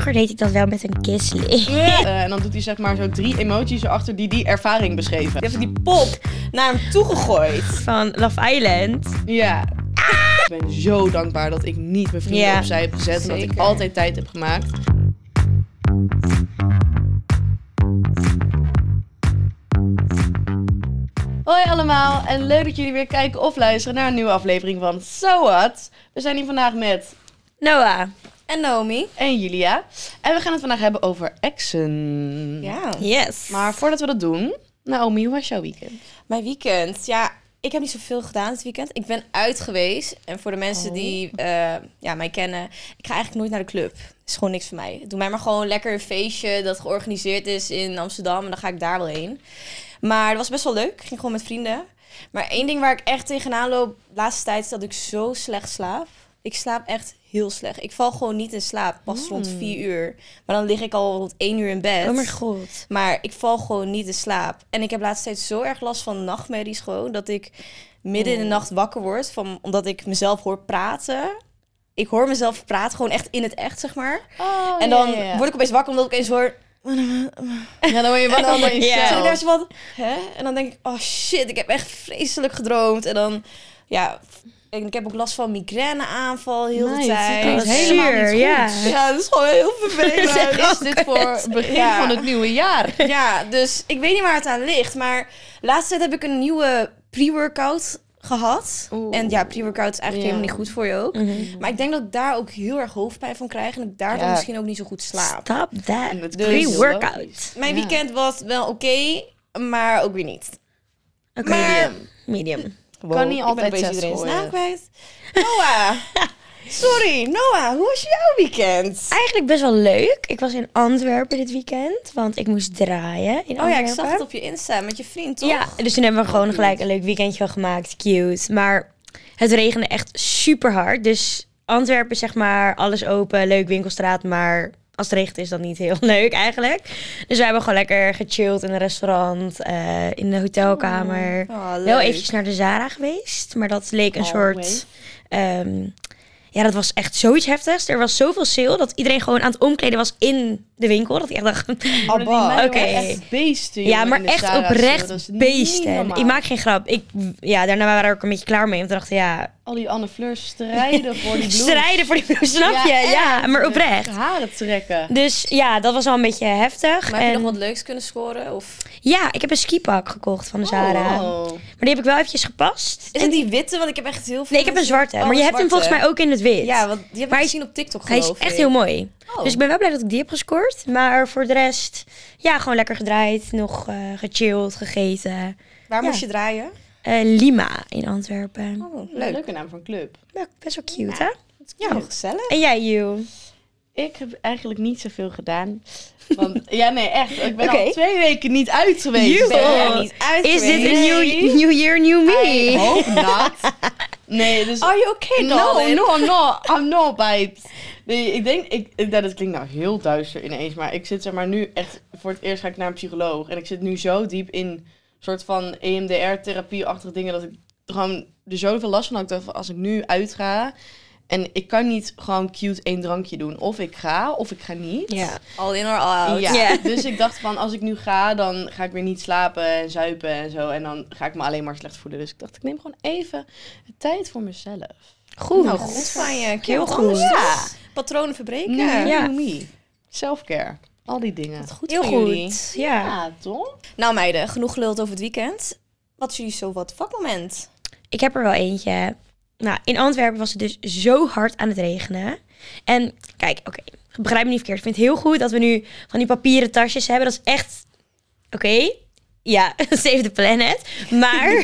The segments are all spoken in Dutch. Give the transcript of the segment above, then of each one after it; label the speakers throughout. Speaker 1: Vroeger deed ik dat wel met een kisling.
Speaker 2: Eh, en dan doet hij zeg maar zo drie emoties erachter die die ervaring beschreven.
Speaker 3: Die heeft die pop naar hem toegegooid.
Speaker 1: Van Love Island.
Speaker 2: Ja. Ik ben zo dankbaar dat ik niet mijn vrienden
Speaker 3: Ja,
Speaker 2: opzij heb gezet. Omdat ik
Speaker 3: zeker.
Speaker 2: altijd tijd heb gemaakt. Hoi allemaal en leuk dat jullie weer kijken of luisteren naar een nieuwe aflevering van So What. We zijn hier vandaag met
Speaker 1: Noah.
Speaker 3: En Naomi.
Speaker 2: en Julia. En we gaan het vandaag hebben over exen.
Speaker 3: Ja.
Speaker 1: Yes.
Speaker 2: Maar voordat we dat doen, Naomi, hoe was jouw weekend?
Speaker 3: Mijn weekend. Ja, ik heb niet zoveel gedaan dit weekend. Ik ben uit geweest. En voor de mensen
Speaker 2: Oh.
Speaker 3: die eh, ja, mij kennen, ik ga eigenlijk nooit naar de club. Is gewoon niks voor mij. Doe mij maar gewoon lekker een feestje dat georganiseerd is in Amsterdam. En dan ga ik daar wel heen. Maar dat was best wel leuk. Ik ging gewoon met vrienden. Maar één ding waar ik echt tegenaan loop de laatste tijd is dat ik zo slecht slaap. Ik slaap echt heel slecht. Ik val gewoon niet in slaap. Pas rond vier uur. Maar dan lig ik al rond één uur in bed.
Speaker 1: Oh mijn god.
Speaker 3: Maar ik val gewoon niet in slaap. En ik heb laatst steeds zo erg last van nachtmerries gewoon. Dat ik midden in de nacht wakker word. Van, omdat ik mezelf hoor praten. Ik hoor mezelf praten gewoon echt in het echt, zeg maar.
Speaker 2: Oh,
Speaker 3: en dan word ik opeens wakker omdat ik eens hoor...
Speaker 2: Ja, dan word je wakker
Speaker 3: En dan
Speaker 2: allemaal
Speaker 3: denk
Speaker 2: in
Speaker 3: ik,
Speaker 2: jezelf.
Speaker 3: zit ik daar zo van... Hè? En dan denk ik, oh shit, ik heb echt vreselijk gedroomd. En dan, ja... En ik heb ook last van migraineaanval heel de
Speaker 2: Nice, dat
Speaker 3: tijd.
Speaker 2: klinkt
Speaker 3: Dat is-
Speaker 2: helemaal niet goed.
Speaker 1: ja.
Speaker 3: Ja, dat is gewoon heel
Speaker 2: Maar
Speaker 3: vervelend.
Speaker 2: is dit voor het begin
Speaker 3: Ja.
Speaker 2: van het nieuwe jaar?
Speaker 3: Ja, dus ik weet niet waar het aan ligt. Maar laatst tijd heb ik een nieuwe pre-workout gehad.
Speaker 2: Oeh.
Speaker 3: En ja, pre-workout is eigenlijk
Speaker 2: Ja. Mhm.
Speaker 3: helemaal niet goed voor je ook. Maar ik denk dat ik daar ook heel erg hoofdpijn van krijg. En dat ik daar dan
Speaker 2: Ja.
Speaker 3: misschien ook niet zo goed slaap.
Speaker 1: Stop that.
Speaker 2: Dat is
Speaker 1: Pre-workout.
Speaker 2: logisch.
Speaker 3: Mijn
Speaker 2: Ja.
Speaker 3: weekend was wel oké, maar ook weer niet.
Speaker 1: Oké.
Speaker 3: Maar
Speaker 1: Medium.
Speaker 2: Kan niet altijd
Speaker 3: ik ben opeens
Speaker 2: zes
Speaker 3: iedereen zijn
Speaker 2: gooien.
Speaker 3: naam kwijt. Noah! Sorry, Noah, hoe was jouw weekend?
Speaker 1: Eigenlijk best wel leuk. Ik was in Antwerpen dit weekend, want ik moest draaien in
Speaker 3: Oh ja, ik
Speaker 1: Antwerpen.
Speaker 3: zag het op je Insta met je vriend, toch? Oh,
Speaker 1: Ja, dus toen hebben we gewoon
Speaker 2: cute.
Speaker 1: gelijk een leuk weekendje van gemaakt. Cute. Maar het regende echt super hard. Dus Antwerpen, zeg maar, alles open, leuk winkelstraat. Maar als het regent is dat niet heel leuk eigenlijk. Dus we hebben gewoon lekker gechilled in een restaurant, eh, in de hotelkamer.
Speaker 3: Oh, leuk. Oh,
Speaker 1: Wel eventjes naar de Zara geweest, maar dat leek een soort...
Speaker 2: Always.
Speaker 1: ehm, ja, dat was echt zoiets heftigs. Er was zoveel sale dat iedereen gewoon aan het omkleden was in de winkel. Dat ik echt dacht,
Speaker 3: Abba.
Speaker 2: Oké.
Speaker 1: Oké.
Speaker 2: Echt beesten.
Speaker 1: ja,
Speaker 2: jongen,
Speaker 1: maar
Speaker 2: in de
Speaker 1: echt
Speaker 2: Zara's,
Speaker 1: oprecht
Speaker 2: joh. Dat is niet
Speaker 1: beesten.
Speaker 2: normaal.
Speaker 1: Ik maak geen grap. Ik, ja, daarna waren we ook een beetje klaar mee. Want we dachten, ja,
Speaker 2: Al die Anne Fleur strijden voor die blouse.
Speaker 1: strijden voor die blouse, snap je? Ja,
Speaker 2: echt.
Speaker 1: maar oprecht.
Speaker 2: Haren trekken.
Speaker 1: Dus ja, dat was al een beetje heftig.
Speaker 3: Maar heb je
Speaker 1: En-
Speaker 3: nog wat leuks kunnen scoren? Of...
Speaker 1: Ja, ik heb een skipak gekocht van de Zara.
Speaker 2: Oh.
Speaker 1: Maar die heb ik wel eventjes gepast.
Speaker 3: Is
Speaker 1: En-
Speaker 3: het die witte? Want ik heb echt heel veel.
Speaker 1: Nee, ik heb een
Speaker 3: mensen-
Speaker 1: zwarte.
Speaker 3: Oh,
Speaker 1: maar je hebt hem
Speaker 3: zwarte.
Speaker 1: volgens mij ook in het wit.
Speaker 3: Ja, want die heb
Speaker 1: Maar hij
Speaker 3: ik
Speaker 1: is-
Speaker 3: gezien op TikTok
Speaker 1: Hij
Speaker 3: geloof
Speaker 1: is
Speaker 3: ik.
Speaker 1: echt heel mooi.
Speaker 3: Oh.
Speaker 1: Dus ik ben wel blij dat ik die heb gescoord. Maar voor de rest, ja, gewoon lekker gedraaid. Nog eh, gechilled, gegeten.
Speaker 3: Waar
Speaker 1: Ja.
Speaker 3: moest je draaien?
Speaker 1: Eh, Lima in Antwerpen.
Speaker 3: Oh,
Speaker 2: Leuk.
Speaker 3: leuk.
Speaker 2: Leuke naam van club.
Speaker 1: Wel- Best wel cute, hè?
Speaker 3: Ja,
Speaker 2: Leuk.
Speaker 3: gezellig.
Speaker 1: En jij, Jules?
Speaker 2: Ik heb eigenlijk niet zoveel gedaan. Want, ja, nee, echt. Ik ben
Speaker 1: Oké.
Speaker 2: al twee weken niet uit geweest.
Speaker 1: Joe.
Speaker 3: Ben
Speaker 2: Ben jij
Speaker 3: jij
Speaker 1: Oh.
Speaker 3: niet uit
Speaker 1: Is dit een
Speaker 3: geweest?
Speaker 1: new, new year, new
Speaker 2: Ik
Speaker 1: me?
Speaker 2: hoop not. Nee, dus...
Speaker 3: Are you okay,
Speaker 2: No,
Speaker 3: darling?
Speaker 2: no, I'm not. I'm not, babe. Nee, ik denk... Ik, ik- dat klinkt nou heel duister ineens. Maar ik zit zeg maar nu echt... Voor het eerst ga ik naar een psycholoog. En ik zit nu zo diep in... soort van E EMDR-therapie-achtige dingen... dat ik gewoon er zoveel last van had. Ik dacht van, als ik nu uitga... en ik kan niet gewoon cute één drankje doen. Of ik ga, of ik ga niet.
Speaker 1: Ja.
Speaker 3: All in or out.
Speaker 2: Ja,
Speaker 1: Ja.
Speaker 2: dus ik dacht van als ik nu ga, dan ga ik weer niet slapen en zuipen en zo. En dan ga ik me alleen maar slecht voelen. Dus ik dacht, ik neem gewoon even de tijd voor mezelf.
Speaker 1: Goed.
Speaker 3: Nou, goed van je. Kijk,
Speaker 1: Heel
Speaker 3: wat
Speaker 1: goed. Mhm.
Speaker 3: anders
Speaker 2: Ja.
Speaker 3: doen. Patronen verbreken.
Speaker 2: Nee,
Speaker 1: Ja.
Speaker 2: doe me. eh, Selfcare. Al die dingen.
Speaker 3: Goed
Speaker 1: Heel
Speaker 3: van jullie.
Speaker 1: goed. Ja.
Speaker 2: Ja, toch?
Speaker 3: Nou meiden, genoeg geluld over het weekend. Wat is jullie zo wat vakmoment?
Speaker 1: Ik heb er wel eentje. Nou, in Antwerpen was het dus zo hard aan het regenen. En kijk, oké, begrijp me niet verkeerd. Ik vind het heel goed dat we nu van die papieren tasjes hebben. Dat is echt, oké, ja, save the planet. Maar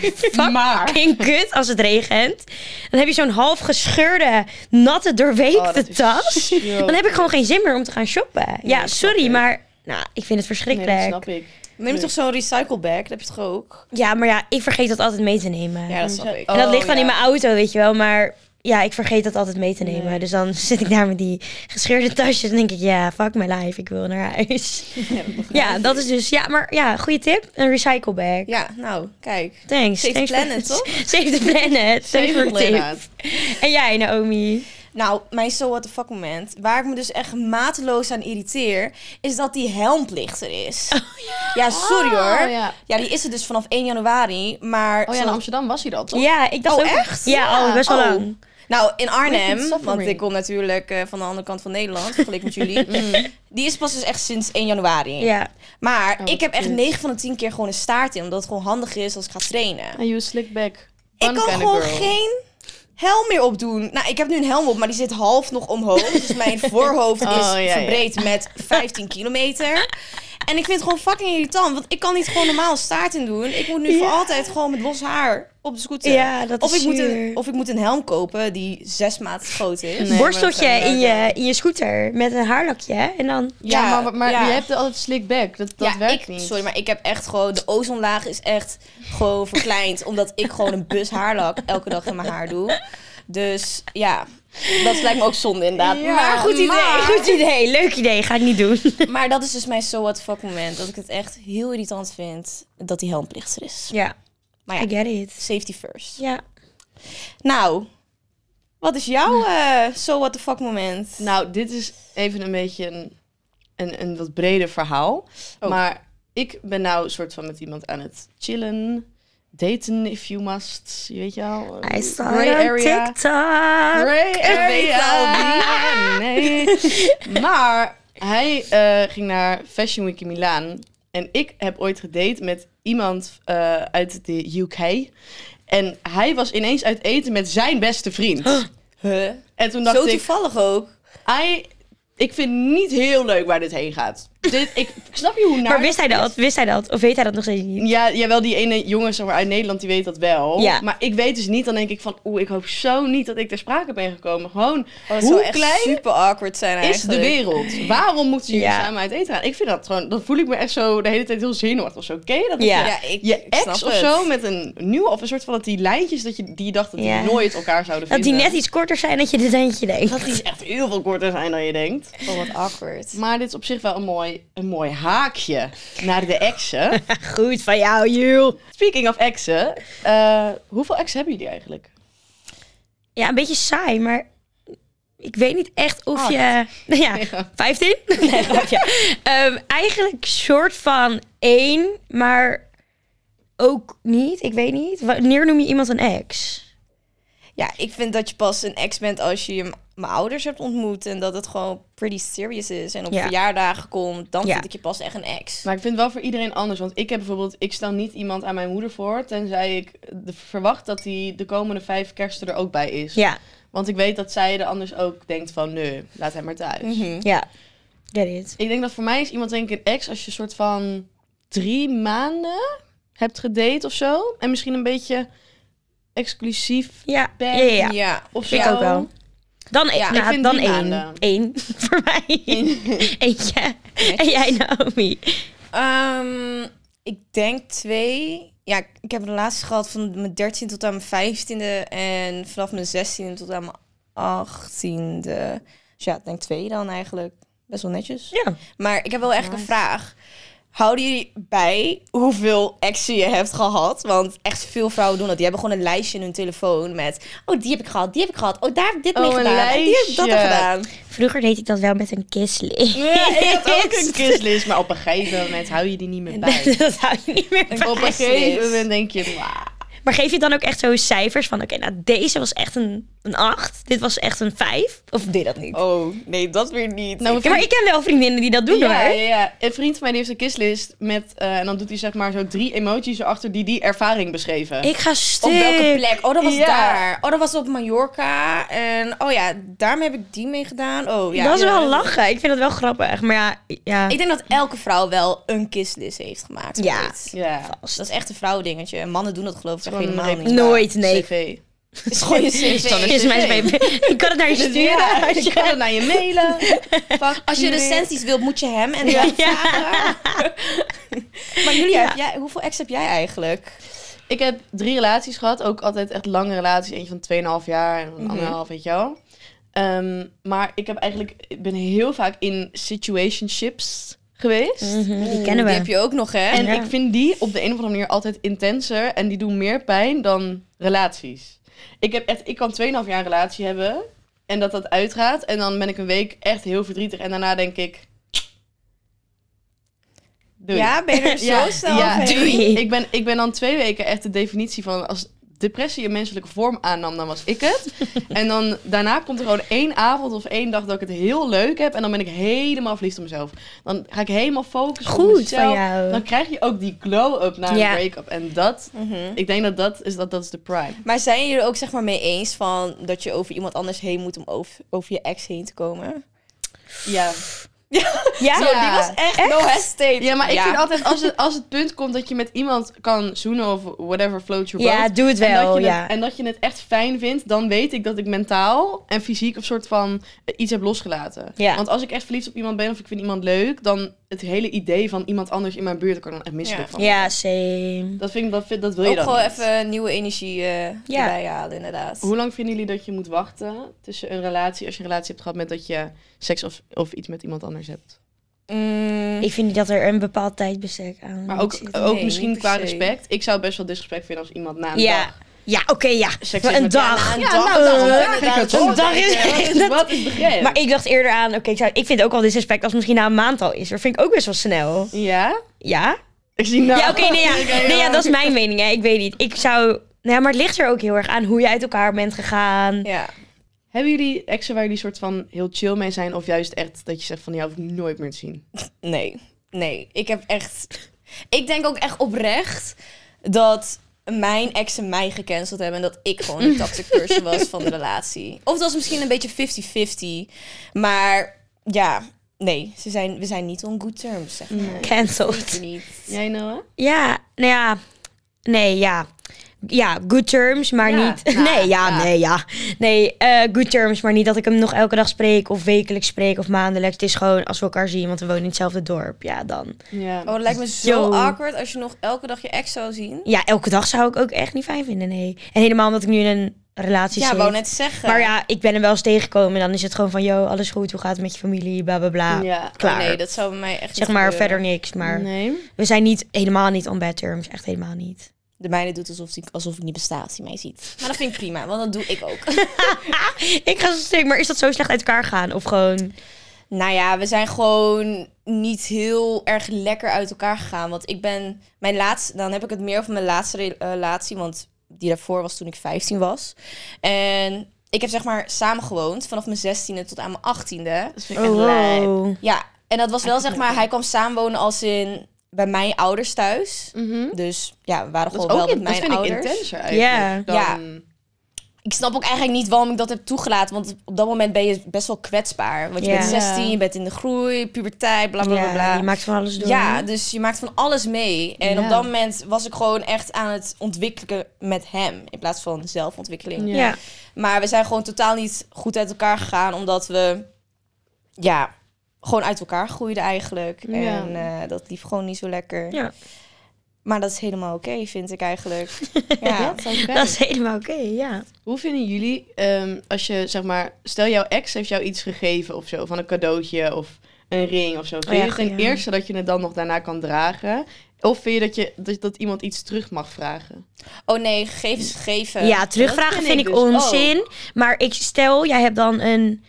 Speaker 2: Maar.
Speaker 1: fucking kut als het regent. Dan heb je zo'n half gescheurde, natte,
Speaker 2: Oh,
Speaker 1: doorweekte tas. Dan heb ik gewoon geen zin meer om te gaan shoppen. ja,
Speaker 2: dat snap
Speaker 1: sorry,
Speaker 2: ik.
Speaker 1: maar nou, ik vind het verschrikkelijk.
Speaker 2: Nee, dat snap ik.
Speaker 3: Neem je
Speaker 2: Nee.
Speaker 3: toch zo'n recyclebag? Dat heb je toch ook?
Speaker 1: Ja, maar ja, ik vergeet dat altijd mee te nemen.
Speaker 3: Oh, Ja, dat snap ik.
Speaker 1: En dat ligt dan
Speaker 2: ja.
Speaker 1: in mijn auto, weet je wel. Maar ja, ik vergeet dat altijd mee te nemen.
Speaker 2: Nee.
Speaker 1: Dus dan zit ik daar met die gescheurde tasjes. En denk ik, ja, fuck my life. Ik wil naar huis. ja, dat is dus... Ja, maar ja, goede tip. Een recyclebag.
Speaker 3: Ja, nou, kijk.
Speaker 1: Thanks.
Speaker 3: Save the
Speaker 1: Thanks voor-
Speaker 3: planet, toch?
Speaker 1: Save the planet. Thanks
Speaker 2: Save
Speaker 1: voor
Speaker 2: the
Speaker 1: de tip.
Speaker 2: planet.
Speaker 1: En jij, Naomi?
Speaker 3: Nou, mijn so what the fuck moment, waar ik me dus echt mateloos aan irriteer, is dat die helmplicht er is. ja. sorry hoor.
Speaker 2: Oh, ja.
Speaker 3: Ah, Ja, die is er dus vanaf 1 januari, maar...
Speaker 2: Oh ja, in
Speaker 3: zo-
Speaker 2: Amsterdam was hij dat, toch?
Speaker 1: Ja, ik dacht
Speaker 3: Oh,
Speaker 1: ook...
Speaker 3: echt?
Speaker 1: Ja, oh, best wel
Speaker 3: Oh.
Speaker 1: lang.
Speaker 3: Nou, in
Speaker 2: Wicked
Speaker 3: Arnhem,
Speaker 2: suffering.
Speaker 3: want ik kom natuurlijk eh, van de andere kant van Nederland, vergeleken met jullie. Die is pas dus echt sinds 1 januari.
Speaker 1: Ja.
Speaker 3: Maar
Speaker 2: Mm. Oh,
Speaker 3: ik heb echt
Speaker 2: kut.
Speaker 3: 9 van de 10 keer gewoon een staart in, omdat het gewoon handig is als ik ga trainen.
Speaker 2: En you slick back.
Speaker 3: Ik
Speaker 2: Fun
Speaker 3: kan
Speaker 2: kinda
Speaker 3: gewoon
Speaker 2: girl.
Speaker 3: geen helm meer opdoen. Nou, ik heb nu een helm op, maar die zit half nog omhoog. Dus mijn voorhoofd is
Speaker 2: Oh, ja, ja.
Speaker 3: verbreed met 15 kilometer. En ik vind het gewoon fucking irritant, want ik kan niet gewoon normaal een staart in doen. Ik moet nu voor
Speaker 1: Ja.
Speaker 3: altijd gewoon met los haar op de scooter.
Speaker 1: ja, dat
Speaker 3: of,
Speaker 1: is
Speaker 3: ik moet een,
Speaker 1: zuur.
Speaker 3: of ik moet een helm kopen die zes maat groot is.
Speaker 2: Nee, maar
Speaker 1: Borsteltje
Speaker 2: dat zijn
Speaker 1: in,
Speaker 2: we
Speaker 1: je, in je scooter met een haarlakje hè? en dan...
Speaker 2: Ja,
Speaker 3: Ja,
Speaker 2: maar, maar
Speaker 3: ja.
Speaker 2: je hebt altijd slick back. Dat, dat werkt
Speaker 3: ik,
Speaker 2: niet.
Speaker 3: Sorry, maar ik heb echt gewoon... De ozonlaag is echt gewoon verkleind. omdat ik gewoon een bus haarlak elke dag in mijn haar doe. Dus ja, dat lijkt me ook zonde inderdaad.
Speaker 2: Ja,
Speaker 3: maar goed idee.
Speaker 2: maar-
Speaker 3: Goed
Speaker 1: Goed idee, leuk idee, ga ik niet doen.
Speaker 3: idee. Maar dat is dus mijn so what the fuck moment. Dat ik het echt heel irritant vind dat die helmplicht er is.
Speaker 1: Ja,
Speaker 3: Maar
Speaker 1: I
Speaker 3: ja,
Speaker 1: get it.
Speaker 3: safety first.
Speaker 1: Ja.
Speaker 3: Nou, wat is jouw eh so what the fuck moment?
Speaker 2: Nou, dit is even een beetje een, een, een wat breder verhaal.
Speaker 3: Oh.
Speaker 2: Maar ik ben nou een soort van met iemand aan het chillen. Daten if you must. Je weet je al.
Speaker 1: I saw
Speaker 2: Grey
Speaker 1: it on TikTok.
Speaker 2: Grey area.
Speaker 3: weet het al
Speaker 2: Ah, Nee. Maar hij eh, ging naar Fashion Week in Milaan. En ik heb ooit gedate met iemand eh, uit de UK. En hij was ineens uit eten met zijn beste vriend.
Speaker 3: Huh?
Speaker 2: En toen dacht
Speaker 3: Zo
Speaker 2: ik...
Speaker 3: toevallig ook.
Speaker 2: I, ik vind niet heel leuk waar dit heen gaat. Dit, ik, ik snap je hoe naar...
Speaker 1: Maar wist hij dat? Wist hij dat? Of weet hij dat nog steeds niet?
Speaker 2: Ja, jawel, die ene jongen zeg maar, uit Nederland die weet dat wel.
Speaker 1: Ja.
Speaker 2: Maar ik weet dus niet. Dan denk ik van... Oeh, ik hoop zo niet dat ik ter sprake ben gekomen. Gewoon,
Speaker 3: Oh, dat zou
Speaker 2: hoe
Speaker 3: echt
Speaker 2: klein
Speaker 3: super awkward zijn
Speaker 2: is
Speaker 3: eigenlijk.
Speaker 2: de wereld? Waarom moeten jullie
Speaker 1: Ja.
Speaker 2: samen uit eten gaan? Ik vind dat gewoon... Dan voel ik me echt zo de hele tijd heel zenuwachtig. Oké, dat is
Speaker 1: Ja.
Speaker 2: je-
Speaker 3: Ja, ik,
Speaker 2: je
Speaker 3: ik snap
Speaker 2: ex of
Speaker 3: het.
Speaker 2: zo met een nieuwe... Of een soort van dat die lijntjes dat je, die je dacht dat die
Speaker 1: Ja.
Speaker 2: nooit elkaar zouden
Speaker 1: Dat die
Speaker 2: vinden.
Speaker 1: net iets korter zijn dat je dit eentje denkt.
Speaker 2: Dat die echt heel veel korter zijn dan je denkt.
Speaker 3: Oh, wat awkward.
Speaker 2: Maar dit is op zich wel een mooi, een mooi haakje naar de exen.
Speaker 1: Goed van jou, Jules.
Speaker 2: Speaking of exen, eh, hoeveel exen hebben jullie eigenlijk?
Speaker 1: Ja, een beetje saai, maar ik weet niet echt of
Speaker 3: Acht.
Speaker 1: je... Nou ja, 15? Nee, grapje. Ehm, eigenlijk soort van één, maar ook niet. Ik weet niet. Wanneer noem je iemand een ex?
Speaker 3: Ja, ik vind dat je pas een ex bent als je m- mijn ouders hebt ontmoet en dat het gewoon pretty serious is en op
Speaker 1: Ja.
Speaker 3: verjaardagen komt, dan
Speaker 1: Ja.
Speaker 3: vind ik je pas echt een ex.
Speaker 2: Maar ik vind het wel voor iedereen anders. Want ik heb bijvoorbeeld, ik stel niet iemand aan mijn moeder voor. Tenzij ik de- verwacht dat die de komende vijf kersten er ook bij is.
Speaker 1: Ja,
Speaker 2: Want ik weet dat zij er anders ook denkt van, nee, laat hem maar thuis.
Speaker 3: Mhm.
Speaker 1: ja. Get it.
Speaker 2: Ik denk dat voor mij is iemand denk ik een ex als je een soort van drie maanden hebt gedate of zo. En misschien een beetje exclusief
Speaker 1: Ja, ja,
Speaker 2: Ben-
Speaker 1: ja. ja.
Speaker 3: Ja.
Speaker 2: of zo.
Speaker 1: Vind ik ook wel. Dan, e-
Speaker 3: Ja,
Speaker 1: nou,
Speaker 2: ik vind
Speaker 1: dan
Speaker 2: drie
Speaker 1: één.
Speaker 2: maanden.
Speaker 1: Eén voor mij. Eentje. En jij, Naomi.
Speaker 3: Ehm, ik denk twee. Ja, ik- ik heb een relatie gehad van mijn 13 tot aan mijn 15e en vanaf mijn 16e tot aan mijn 18e. Dus ja, ik denk twee dan eigenlijk. Best wel netjes.
Speaker 1: Ja.
Speaker 3: Maar ik heb wel echt een
Speaker 2: Nice.
Speaker 3: vraag. Houden jullie bij hoeveel exen je hebt gehad? Want echt veel vrouwen doen dat. Die hebben gewoon een lijstje in hun telefoon met... Oh, die heb ik gehad, die heb ik gehad. Oh, daar heb ik dit
Speaker 2: Oh,
Speaker 3: mee
Speaker 2: een
Speaker 3: gedaan. en die heb ik dat er
Speaker 2: lijstje.
Speaker 3: gedaan.
Speaker 1: Vroeger deed ik dat wel met een kistlist.
Speaker 2: Ja, ik had ook een kistlist, maar op een gegeven moment hou je die niet meer bij.
Speaker 1: dat hou je niet meer bij.
Speaker 2: op een
Speaker 3: kistlist.
Speaker 2: gegeven moment denk je, "Mwah."
Speaker 1: Maar geef je dan ook echt zo cijfers van... Oké, nou deze was echt een, een acht. Dit was echt een vijf. Of deed dat niet?
Speaker 3: Oh, nee, dat weer niet.
Speaker 2: Nou,
Speaker 3: Nou,
Speaker 2: we-
Speaker 1: Ja, maar ik ken wel vriendinnen die dat doen
Speaker 2: ja,
Speaker 1: hoor.
Speaker 2: ja, ja. Een vriend van mij die heeft een kistlist met, eh, en dan doet hij zeg maar zo drie emoties erachter die die ervaring beschreven.
Speaker 1: Ik ga
Speaker 3: op
Speaker 1: stuk.
Speaker 3: welke plek? Oh, dat was
Speaker 2: Ja.
Speaker 3: daar. Oh, dat was op Mallorca. En oh ja, daarmee heb ik die mee gedaan. Oh ja.
Speaker 1: dat is
Speaker 3: Ja.
Speaker 1: wel lachen. Ik vind dat wel grappig. Maar ja, ja.
Speaker 3: Ik denk dat elke vrouw wel een kistlist heeft gemaakt.
Speaker 1: Ja.
Speaker 3: ooit.
Speaker 2: ja,
Speaker 3: Dat is echt een vrouwendingetje. En mannen doen dat geloof ik echt
Speaker 2: Gewoon
Speaker 3: helemaal
Speaker 2: een-
Speaker 3: niet.
Speaker 1: Nooit, nee.
Speaker 2: cv.
Speaker 3: Het is gewoon je cv.
Speaker 1: Is mijn
Speaker 2: cv.
Speaker 1: cv. Ik kan het naar je sturen.
Speaker 2: Ja,
Speaker 1: als
Speaker 2: je
Speaker 1: je-
Speaker 2: kan het naar je mailen. Facturen.
Speaker 3: Als je recensies wilt, moet je hem en hem vragen. maar Julia,
Speaker 1: Ja.
Speaker 3: heb jij, hoeveel ex heb jij eigenlijk?
Speaker 2: Ik heb drie relaties gehad, ook altijd echt lange relaties. Eentje van 2,5 jaar en een
Speaker 3: Mhm.
Speaker 2: anderhalf, weet je wel. Ehm, maar ik heb eigenlijk, ik ben heel vaak in situationships geweest.
Speaker 1: Mhm, die kennen we.
Speaker 3: Die heb je ook nog, hè?
Speaker 2: En
Speaker 1: Ja.
Speaker 2: ik vind die op de een of andere manier altijd intenser. En die doen meer pijn dan relaties. Ik, heb echt, ik kan 2,5 jaar relatie hebben. En dat dat uitgaat. En dan ben ik een week echt heel verdrietig. En daarna denk ik... Doei.
Speaker 3: Ja, ben je er zo
Speaker 2: Ja,
Speaker 3: snel
Speaker 2: ja.
Speaker 3: overheen?
Speaker 1: Doei.
Speaker 2: Ik ben, ik ben dan twee weken echt de definitie van als depressie een menselijke vorm aannam, dan was ik het. en dan daarna komt er gewoon één avond of één dag dat ik het heel leuk heb. En dan ben ik helemaal verliefd op mezelf. Dan ga ik helemaal focussen op
Speaker 1: Goed
Speaker 2: mezelf.
Speaker 1: van jou.
Speaker 2: Dan krijg je ook die glow-up na
Speaker 1: Ja.
Speaker 2: een break-up. En dat,
Speaker 3: Mhm.
Speaker 2: ik denk dat dat is, dat, dat is de prime.
Speaker 3: Maar zijn jullie er ook zeg maar mee eens van dat je over iemand anders heen moet om over, over je ex heen te komen?
Speaker 2: Ja,
Speaker 1: Ja?
Speaker 3: Zo, die was echt, no hesitate.
Speaker 2: ja maar ik vind altijd, als het, als het punt komt dat je met iemand kan zoenen of whatever floats your boat.
Speaker 1: Ja, doe het
Speaker 2: en, dat
Speaker 1: wel,
Speaker 2: je
Speaker 1: ja.
Speaker 2: het, en dat je het echt fijn vindt, dan weet ik dat ik mentaal en fysiek een soort van eh, iets heb losgelaten.
Speaker 1: Ja.
Speaker 2: Want als ik echt verliefd op iemand ben of ik vind iemand leuk, dan het hele idee van iemand anders in mijn buurt, daar kan ik dan echt misselijk
Speaker 3: Ja.
Speaker 2: van.
Speaker 1: Ja, same.
Speaker 2: Dat, vind ik, dat, vind- dat wil je
Speaker 3: Ook
Speaker 2: dan
Speaker 3: gewoon
Speaker 2: niet.
Speaker 3: even nieuwe energie eh
Speaker 1: Ja.
Speaker 3: erbij halen, inderdaad.
Speaker 2: Hoe lang vinden jullie dat je moet wachten tussen een relatie, als je een relatie hebt gehad met dat je seks of, of iets met iemand anders hebt?
Speaker 3: Mm,
Speaker 1: Ik vind niet dat er een bepaald tijdbestek aan
Speaker 2: Maar
Speaker 1: moet
Speaker 2: ook,
Speaker 1: zitten.
Speaker 2: ook
Speaker 3: Nee,
Speaker 2: misschien
Speaker 3: niet per
Speaker 2: qua
Speaker 3: se.
Speaker 2: respect. Ik zou het best wel disrespect vinden als iemand na een
Speaker 1: Ja,
Speaker 2: dag
Speaker 1: ja oké, ja.
Speaker 2: seks
Speaker 1: Maar
Speaker 2: heeft
Speaker 1: een
Speaker 2: met- Ja,
Speaker 1: dag.
Speaker 2: na een
Speaker 3: Ja,
Speaker 2: dag.
Speaker 3: nou,
Speaker 1: eh,
Speaker 3: daarom,
Speaker 1: ik
Speaker 3: inderdaad.
Speaker 2: het
Speaker 1: Een dag is...
Speaker 2: Wat is- Dus Wat is de grens?
Speaker 1: Maar ik dacht eerder aan, oké, ik, zou- ik vind ook al disrespect als het misschien na een maand al is. Dat vind ik ook best wel snel.
Speaker 2: Ja?
Speaker 1: Ja?
Speaker 2: Ik zie nou...
Speaker 1: Ja, oké, nee, ja. nee, ja, dat is mijn mening, hè. Ik weet niet. Ik zou... Nou ja, maar het ligt er ook heel erg aan hoe je uit elkaar bent gegaan.
Speaker 3: Ja.
Speaker 2: Hebben jullie exen waar jullie soort van heel chill mee zijn? Of juist echt dat je zegt van, die hoef ik nooit meer te zien?
Speaker 3: Nee, nee. Ik heb echt. Ik denk ook echt oprecht dat mijn exen mij gecanceld hebben. En dat ik gewoon de toxic person was van de relatie. Of dat is misschien een beetje 50-50. Maar ja, nee. Ze zijn, we zijn niet on good terms, zeg maar.
Speaker 1: Cancelled.
Speaker 3: Zeker niet.
Speaker 2: Jij Noah?
Speaker 1: Ja, nou ja. Nee, ja. Ja, good terms, maar
Speaker 2: Ja,
Speaker 1: niet... nee, ja,
Speaker 3: ja.
Speaker 1: nee, ja. Nee, eh, good terms, maar niet dat ik hem nog elke dag spreek... of wekelijks spreek of maandelijks. Het is gewoon als we elkaar zien, want we wonen in hetzelfde dorp. Ja, dan...
Speaker 2: Ja.
Speaker 3: Oh, dat lijkt me zo
Speaker 1: Yo.
Speaker 3: awkward als je nog elke dag je ex zou zien.
Speaker 1: Ja, elke dag zou ik ook echt niet fijn vinden, nee. En helemaal omdat ik nu in een relatie
Speaker 3: Ja,
Speaker 1: zit.
Speaker 3: wou net zeggen.
Speaker 1: Maar ja, ik ben hem wel eens tegengekomen. En dan is het gewoon van, yo, alles goed, hoe gaat het met je familie, bla bla bla.
Speaker 2: Ja.
Speaker 1: Klaar.
Speaker 3: Oh, nee, dat zou bij mij echt
Speaker 1: zeg
Speaker 3: niet
Speaker 1: maar
Speaker 3: gebeuren.
Speaker 1: verder niks. Maar
Speaker 2: Nee.
Speaker 1: we zijn niet, helemaal niet on bad terms. Echt helemaal niet.
Speaker 3: De mijne doet alsof, die, alsof ik niet besta als hij mij ziet. Maar dat vind ik prima, want dat doe ik ook.
Speaker 1: Ik ga zo stuk, maar is dat zo slecht uit elkaar gaan? Of gewoon...
Speaker 3: Nou ja, we zijn gewoon niet heel erg lekker uit elkaar gegaan. Want ik ben mijn laatste, dan heb ik het meer over mijn laatste re- eh, relatie. Want die daarvoor was toen ik 15 was. En ik heb zeg maar samen gewoond vanaf mijn 16e tot aan mijn 18e.
Speaker 2: Dat vind ik echt lijp.
Speaker 1: Oh.
Speaker 3: Ja, en dat was wel zeg maar, hij kwam samenwonen als in bij mijn ouders thuis.
Speaker 2: Mhm.
Speaker 3: Dus ja, we waren
Speaker 2: Dat,
Speaker 3: gewoon
Speaker 2: is
Speaker 3: wel
Speaker 2: ook
Speaker 3: met
Speaker 2: in, dat
Speaker 3: mijn
Speaker 2: vind ik
Speaker 3: ouders.
Speaker 2: intenser eigenlijk.
Speaker 3: Ja. Ja.
Speaker 2: dan-
Speaker 3: ik snap ook eigenlijk niet waarom ik dat heb toegelaten. Want op dat moment ben je best wel kwetsbaar. Want je
Speaker 1: Ja.
Speaker 3: bent 16, je bent in de groei, puberteit, bla bla bla.
Speaker 1: Ja,
Speaker 3: bla.
Speaker 1: je maakt van alles door.
Speaker 3: Ja, dus je maakt van alles mee. En
Speaker 2: Ja.
Speaker 3: op dat moment was ik gewoon echt aan het ontwikkelen met hem. In plaats van zelfontwikkeling.
Speaker 2: Ja.
Speaker 1: Ja.
Speaker 3: Maar we zijn gewoon totaal niet goed uit elkaar gegaan. Omdat we, ja, gewoon uit elkaar groeiden eigenlijk.
Speaker 2: Ja.
Speaker 3: En eh, dat liep gewoon niet zo lekker.
Speaker 1: Ja.
Speaker 3: Maar dat is helemaal oké, vind ik eigenlijk. ja.
Speaker 2: Dat is oké.
Speaker 1: Dat is helemaal oké, ja.
Speaker 2: Hoe vinden jullie, ehm, als je zeg maar, stel jouw ex heeft jou iets gegeven of zo, van een cadeautje of een ring of zo. Vind
Speaker 1: ja,
Speaker 2: je het ten
Speaker 1: ja.
Speaker 2: eerste dat je het dan nog daarna kan dragen? Of vind je dat, je, dat, dat iemand iets terug mag vragen?
Speaker 3: Oh nee, gegeven is gegeven.
Speaker 1: Ja, terugvragen
Speaker 2: vind
Speaker 1: vind,
Speaker 2: ik
Speaker 1: ik,
Speaker 2: dus
Speaker 1: onzin. Maar ik stel, jij hebt dan een...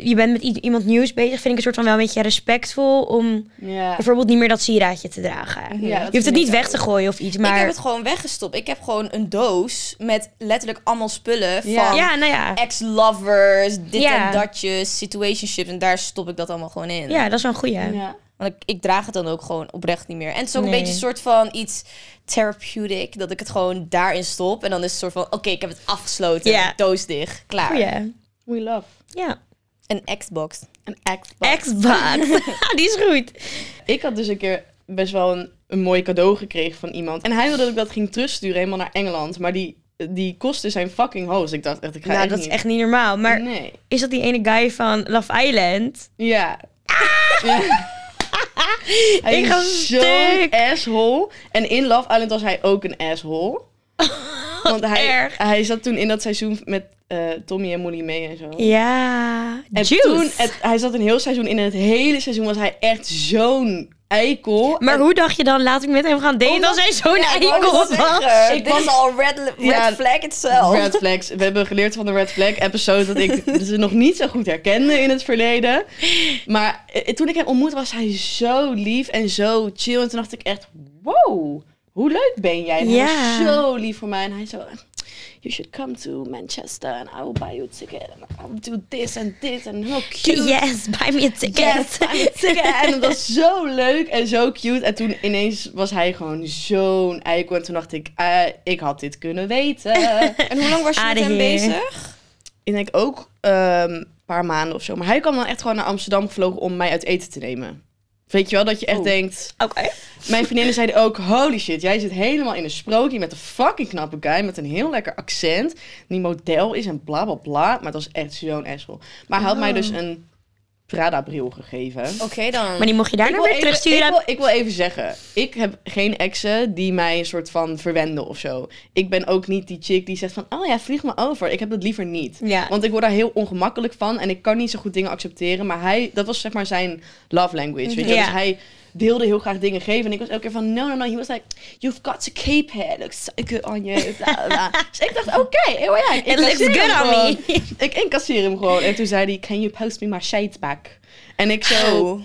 Speaker 1: Je bent met i- iemand nieuws bezig. Vind ik een soort van wel een beetje respectvol om
Speaker 2: Ja.
Speaker 1: bijvoorbeeld niet meer dat sieraadje te dragen.
Speaker 2: Ja, dat
Speaker 1: je hoeft het
Speaker 2: vind
Speaker 1: niet
Speaker 2: ik
Speaker 1: weg te gooien of iets, maar...
Speaker 3: Ik heb het gewoon weggestopt. Ik heb gewoon een doos met letterlijk allemaal spullen van
Speaker 2: Ja.
Speaker 1: Ja, nou ja.
Speaker 3: ex-lovers, dit
Speaker 1: Ja.
Speaker 3: en datjes, situationships. En daar stop ik dat allemaal gewoon in.
Speaker 1: Ja, dat is wel een goeie.
Speaker 2: Ja.
Speaker 3: Want ik, ik draag het dan ook gewoon oprecht niet meer. En het is ook een
Speaker 1: Nee.
Speaker 3: beetje een soort van iets therapeutic. Dat ik het gewoon daarin stop. En dan is het soort van, oké, ik heb het afgesloten.
Speaker 1: Ja.
Speaker 3: Doos dicht. Klaar.
Speaker 1: Goeie.
Speaker 2: We love.
Speaker 1: Ja.
Speaker 3: Een Xbox.
Speaker 2: Een act.
Speaker 1: Xbox. Die is goed.
Speaker 2: Ik had dus een keer best wel een, een mooi cadeau gekregen van iemand. En hij wilde dat ik dat ging terugsturen helemaal naar Engeland. Maar die, die kostte zijn fucking hoos. Ik dacht echt, ik ga
Speaker 1: Nou,
Speaker 2: echt
Speaker 1: dat is
Speaker 2: niet. Mm.
Speaker 1: echt niet normaal. Maar
Speaker 2: Nee.
Speaker 1: is dat die ene guy van Love Island?
Speaker 2: Ja. Ja. Hij
Speaker 1: Ik ga
Speaker 2: is zo'n
Speaker 1: stuk.
Speaker 2: asshole. En in Love Island was hij ook een asshole. Want hij,
Speaker 1: erg.
Speaker 2: hij zat toen in dat seizoen met eh, Tommy en Molly mee en zo.
Speaker 1: Ja.
Speaker 2: En
Speaker 1: Juice.
Speaker 2: toen, het- hij zat een heel seizoen in en het hele seizoen was hij echt zo'n eikel.
Speaker 1: Maar hoe dacht je dan, laat ik met hem gaan daten als hij zo'n eikel was?
Speaker 3: Ik was al red, red
Speaker 2: Ja,
Speaker 3: flag itself.
Speaker 2: Red flags. We hebben geleerd van de red flag episode dat ik ze nog niet zo goed herkende in het verleden. Maar eh, toen ik hem ontmoette was hij zo lief en zo chill. En toen dacht ik echt, wow, hoe leuk ben jij? En
Speaker 1: Ja.
Speaker 2: hij was zo lief voor mij. En hij zo, you should come to Manchester and I will buy you a ticket. And I will do this and this and how cute.
Speaker 1: Yes, buy me a
Speaker 2: Yes,
Speaker 1: ticket.
Speaker 2: I'm sick. En dat was zo leuk en zo cute. En toen ineens was hij gewoon zo'n eikel. En toen dacht ik, eh, ik had dit kunnen weten.
Speaker 3: Eh, En hoe lang was je met
Speaker 1: Aarde
Speaker 3: hem
Speaker 1: heer.
Speaker 3: bezig?
Speaker 2: ik denk ook ehm, een paar maanden of zo. Maar hij kwam dan echt gewoon naar Amsterdam gevlogen om mij uit eten te nemen. Weet je wel, dat je echt
Speaker 3: Oh.
Speaker 2: denkt...
Speaker 1: Oké.
Speaker 2: Mijn vriendinnen zeiden ook, holy shit, jij zit helemaal in een sprookje met een fucking knappe guy. Met een heel lekker accent. Die model is en bla bla bla. Maar het was echt zo'n asshole. Maar hij had mij dus een Prada-bril gegeven.
Speaker 3: Oké dan.
Speaker 1: Maar die mocht je daarna
Speaker 2: Ik
Speaker 1: weer
Speaker 2: wil, even,
Speaker 1: terugsturen.
Speaker 2: ik, wil, ik wil even zeggen, ik heb geen exen die mij een soort van verwenden of zo. Ik ben ook niet die chick die zegt van, oh ja, vlieg me over. Ik heb dat liever niet.
Speaker 1: Ja.
Speaker 2: Want ik word daar heel ongemakkelijk van en ik kan niet zo goed dingen accepteren. Maar hij, dat was zeg maar zijn love language, weet je wel.
Speaker 1: Ja.
Speaker 2: Dus hij wilde heel graag dingen geven en ik was elke keer van, no, no, no. He was like, you've got to keep it. Looks so good on you. Bla, bla. dus ik dacht, oké, heel ja, ik
Speaker 1: It looks
Speaker 2: incasseer
Speaker 1: good
Speaker 2: hem
Speaker 1: on me.
Speaker 2: gewoon. Ik incasseer hem gewoon. En toen zei hij, can you post me my shades back? En ik zo...
Speaker 1: Oh.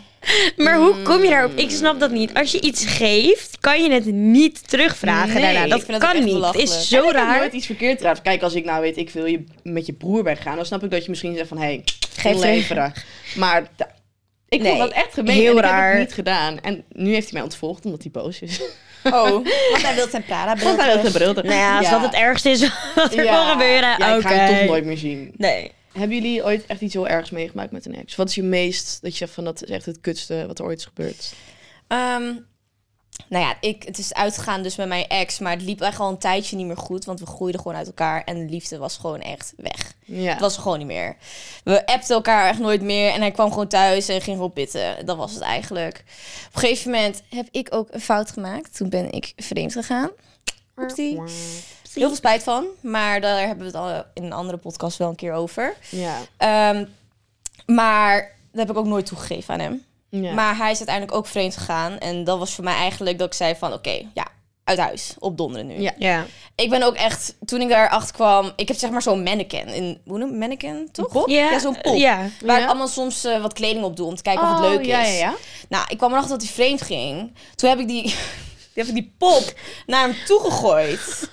Speaker 1: Maar hoe kom je daarop?
Speaker 2: Hmm.
Speaker 1: Ik snap dat niet. Als je iets geeft, kan je het niet terugvragen
Speaker 2: Nee,
Speaker 1: daarna. Dat
Speaker 3: ik vind
Speaker 1: kan
Speaker 3: dat echt
Speaker 1: niet. Het
Speaker 3: belachelijk.
Speaker 1: is zo
Speaker 2: Ik heb
Speaker 1: raar.
Speaker 2: nooit iets verkeerd gedaan. Kijk, als ik nou weet, ik wil je met je broer weggaan, dan snap ik dat je misschien zegt van, hé, hey,
Speaker 1: Geef
Speaker 2: leveren. Maar da- ik
Speaker 3: Nee,
Speaker 2: vond dat echt gemeen
Speaker 1: heel
Speaker 2: en ik heb
Speaker 1: raar.
Speaker 2: het niet gedaan. En nu heeft hij mij ontvolgd omdat hij boos is.
Speaker 3: Oh, want hij wil zijn Prada
Speaker 2: Want hij
Speaker 3: bril.
Speaker 2: had een bril.
Speaker 1: Nou ja, als dat het ergste is wat er kan gebeuren.
Speaker 2: Ja, ik
Speaker 1: Oké.
Speaker 2: ga hem toch nooit meer zien.
Speaker 3: Nee.
Speaker 2: Hebben jullie ooit echt iets heel ergs meegemaakt met een ex? Wat is je meest, dat je zegt van, dat is echt het kutste wat er ooit is gebeurd?
Speaker 3: Ehm, nou ja, ik, het is uitgegaan dus met mijn ex, maar het liep echt al een tijdje niet meer goed, want we groeiden gewoon uit elkaar en de liefde was gewoon echt weg.
Speaker 2: Ja.
Speaker 3: Het was er gewoon niet meer. We appten elkaar echt nooit meer. En hij kwam gewoon thuis en ging gewoon pitten. Dat was het eigenlijk. Op een gegeven moment heb ik ook een fout gemaakt. Toen ben ik vreemd gegaan. Oepsie. Heel veel spijt van. Maar daar hebben we het al in een andere podcast wel een keer over.
Speaker 2: Ja.
Speaker 3: Ehm, maar dat heb ik ook nooit toegegeven aan hem.
Speaker 2: ja.
Speaker 3: Maar hij is uiteindelijk ook vreemd gegaan. En dat was voor mij eigenlijk dat ik zei van... Oké, ja, uit huis. Op donderen nu.
Speaker 2: Ja.
Speaker 1: Ja.
Speaker 3: Ik ben ook echt... Toen ik daarachter kwam... Ik heb zeg maar zo'n mannequin. In, hoe noem je mannequin, toch? Ja, zo'n pop.
Speaker 1: Ja.
Speaker 3: Waar
Speaker 2: Ja. Oh,
Speaker 3: ik allemaal soms eh, wat kleding op doe om te kijken of
Speaker 1: Oh,
Speaker 3: het leuk is.
Speaker 2: ja, ja, ja.
Speaker 3: Nou, ik kwam erachter dat hij vreemd ging. Toen heb ik die, toen heb ik die pop naar hem toegegooid.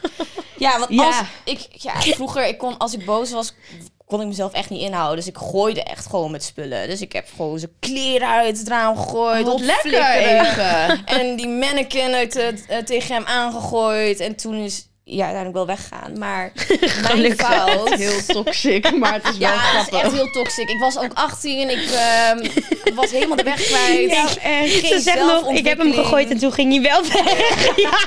Speaker 3: ja, want
Speaker 2: Ja.
Speaker 3: Als ik, ja, vroeger, ik kon, als ik boos was, kon ik mezelf echt niet inhouden. Dus ik gooide echt gewoon met spullen. Dus ik heb gewoon zijn kleren uit het raam gegooid.
Speaker 2: Oh, Wat lekker
Speaker 3: opflikkeren.
Speaker 2: even.
Speaker 3: En die mannequin uit het- eh, tegen hem aangegooid. En toen is ja, uiteindelijk wel weggegaan. Maar mijn
Speaker 1: Gelukkig.
Speaker 3: fout...
Speaker 2: Heel toxic, maar het is wel
Speaker 3: Ja, dat is
Speaker 2: grappig.
Speaker 3: echt heel toxic. Ik was ook 18 en ik ehm, was helemaal de weg kwijt.
Speaker 1: Ja,
Speaker 3: Geen
Speaker 1: Ze zegt nog, ik heb hem
Speaker 3: zelfontwikkeling.
Speaker 1: gegooid en toen ging hij wel weg. Ja,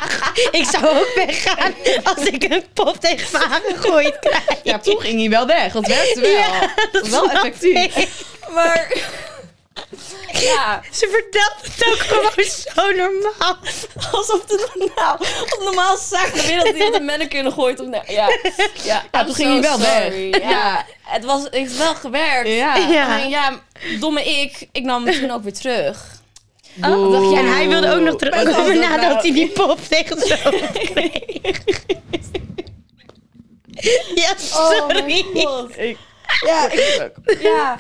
Speaker 1: ik zou ook weggaan als ik een pop tegen me aangegooid krijg.
Speaker 2: Ja, toen ging hij wel weg. Dat werkte wel.
Speaker 1: Ja, dat
Speaker 2: wel
Speaker 1: snap
Speaker 2: effectief.
Speaker 1: ik.
Speaker 3: Maar ja,
Speaker 1: Ze vertelt het ook gewoon zo normaal.
Speaker 3: alsof de normaal, op normaal zaak de wereld die de mannequin gooit. Of, nou, ja, ja,
Speaker 2: Ja,
Speaker 3: I'm
Speaker 2: toen ging
Speaker 3: so
Speaker 2: hij wel
Speaker 3: sorry.
Speaker 2: weg.
Speaker 3: Ja. het was, het heeft wel gewerkt.
Speaker 2: Ja.
Speaker 1: Ja.
Speaker 3: Alleen, ja, domme ik, ik nam hem toen ook weer terug.
Speaker 2: Boe.
Speaker 3: dacht
Speaker 1: Oh,
Speaker 3: jij?
Speaker 1: En hij wilde ook nog
Speaker 2: Wat Oh, is
Speaker 1: terugkomen
Speaker 2: dat
Speaker 1: nadat
Speaker 2: nou?
Speaker 1: hij die pop tegen zijn hoofd kreeg. Ja, sorry.
Speaker 2: Ik, ja, ik ook.
Speaker 3: Ja.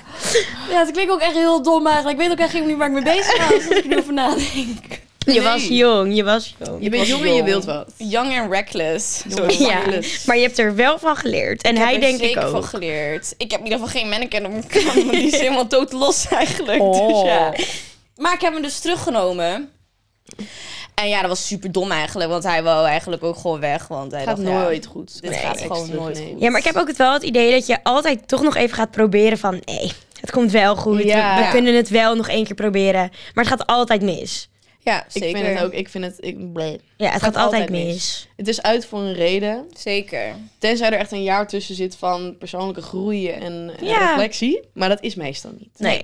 Speaker 3: ja, het klinkt ook echt heel dom eigenlijk. Ik weet ook echt helemaal niet waar ik mee bezig was als ik er nu over nadenk.
Speaker 1: je was jong, je was jong.
Speaker 2: Je bent
Speaker 3: was
Speaker 2: jong en je
Speaker 3: jong.
Speaker 2: wilt wat.
Speaker 3: Young and reckless.
Speaker 1: Ja, maar je hebt er wel van geleerd. En hij
Speaker 3: heb er
Speaker 1: denk ik
Speaker 3: zeker
Speaker 1: ook.
Speaker 3: van geleerd. Ik heb in ieder geval geen mannequin op mijn kamer. want Die is helemaal dood los eigenlijk. Dus
Speaker 1: Oh.
Speaker 3: ja. Maar ik heb hem dus teruggenomen. En ja, dat was super dom eigenlijk. Want hij wou eigenlijk ook gewoon weg. Want hij
Speaker 2: Het gaat
Speaker 3: dacht, ja,
Speaker 2: nooit goed.
Speaker 3: dit
Speaker 2: Nee,
Speaker 3: gaat
Speaker 2: extra
Speaker 3: gewoon nooit
Speaker 2: nee.
Speaker 3: goed.
Speaker 1: Ja, maar ik heb ook het wel het idee dat je altijd toch nog even gaat proberen van... Nee, het komt wel goed.
Speaker 2: Ja.
Speaker 1: We, we
Speaker 3: Ja.
Speaker 1: kunnen het wel nog één keer proberen. Maar het gaat altijd mis.
Speaker 3: Ja,
Speaker 2: Ik
Speaker 3: zeker.
Speaker 2: vind het ook, ik vind het, ik, bleh.
Speaker 1: Ja, het gaat, altijd, mis.
Speaker 2: Het is uit voor een reden.
Speaker 3: Zeker.
Speaker 2: Tenzij er echt een jaar tussen zit van persoonlijke groei en, en
Speaker 1: Ja.
Speaker 2: reflectie. Maar dat is meestal niet.
Speaker 1: Nee.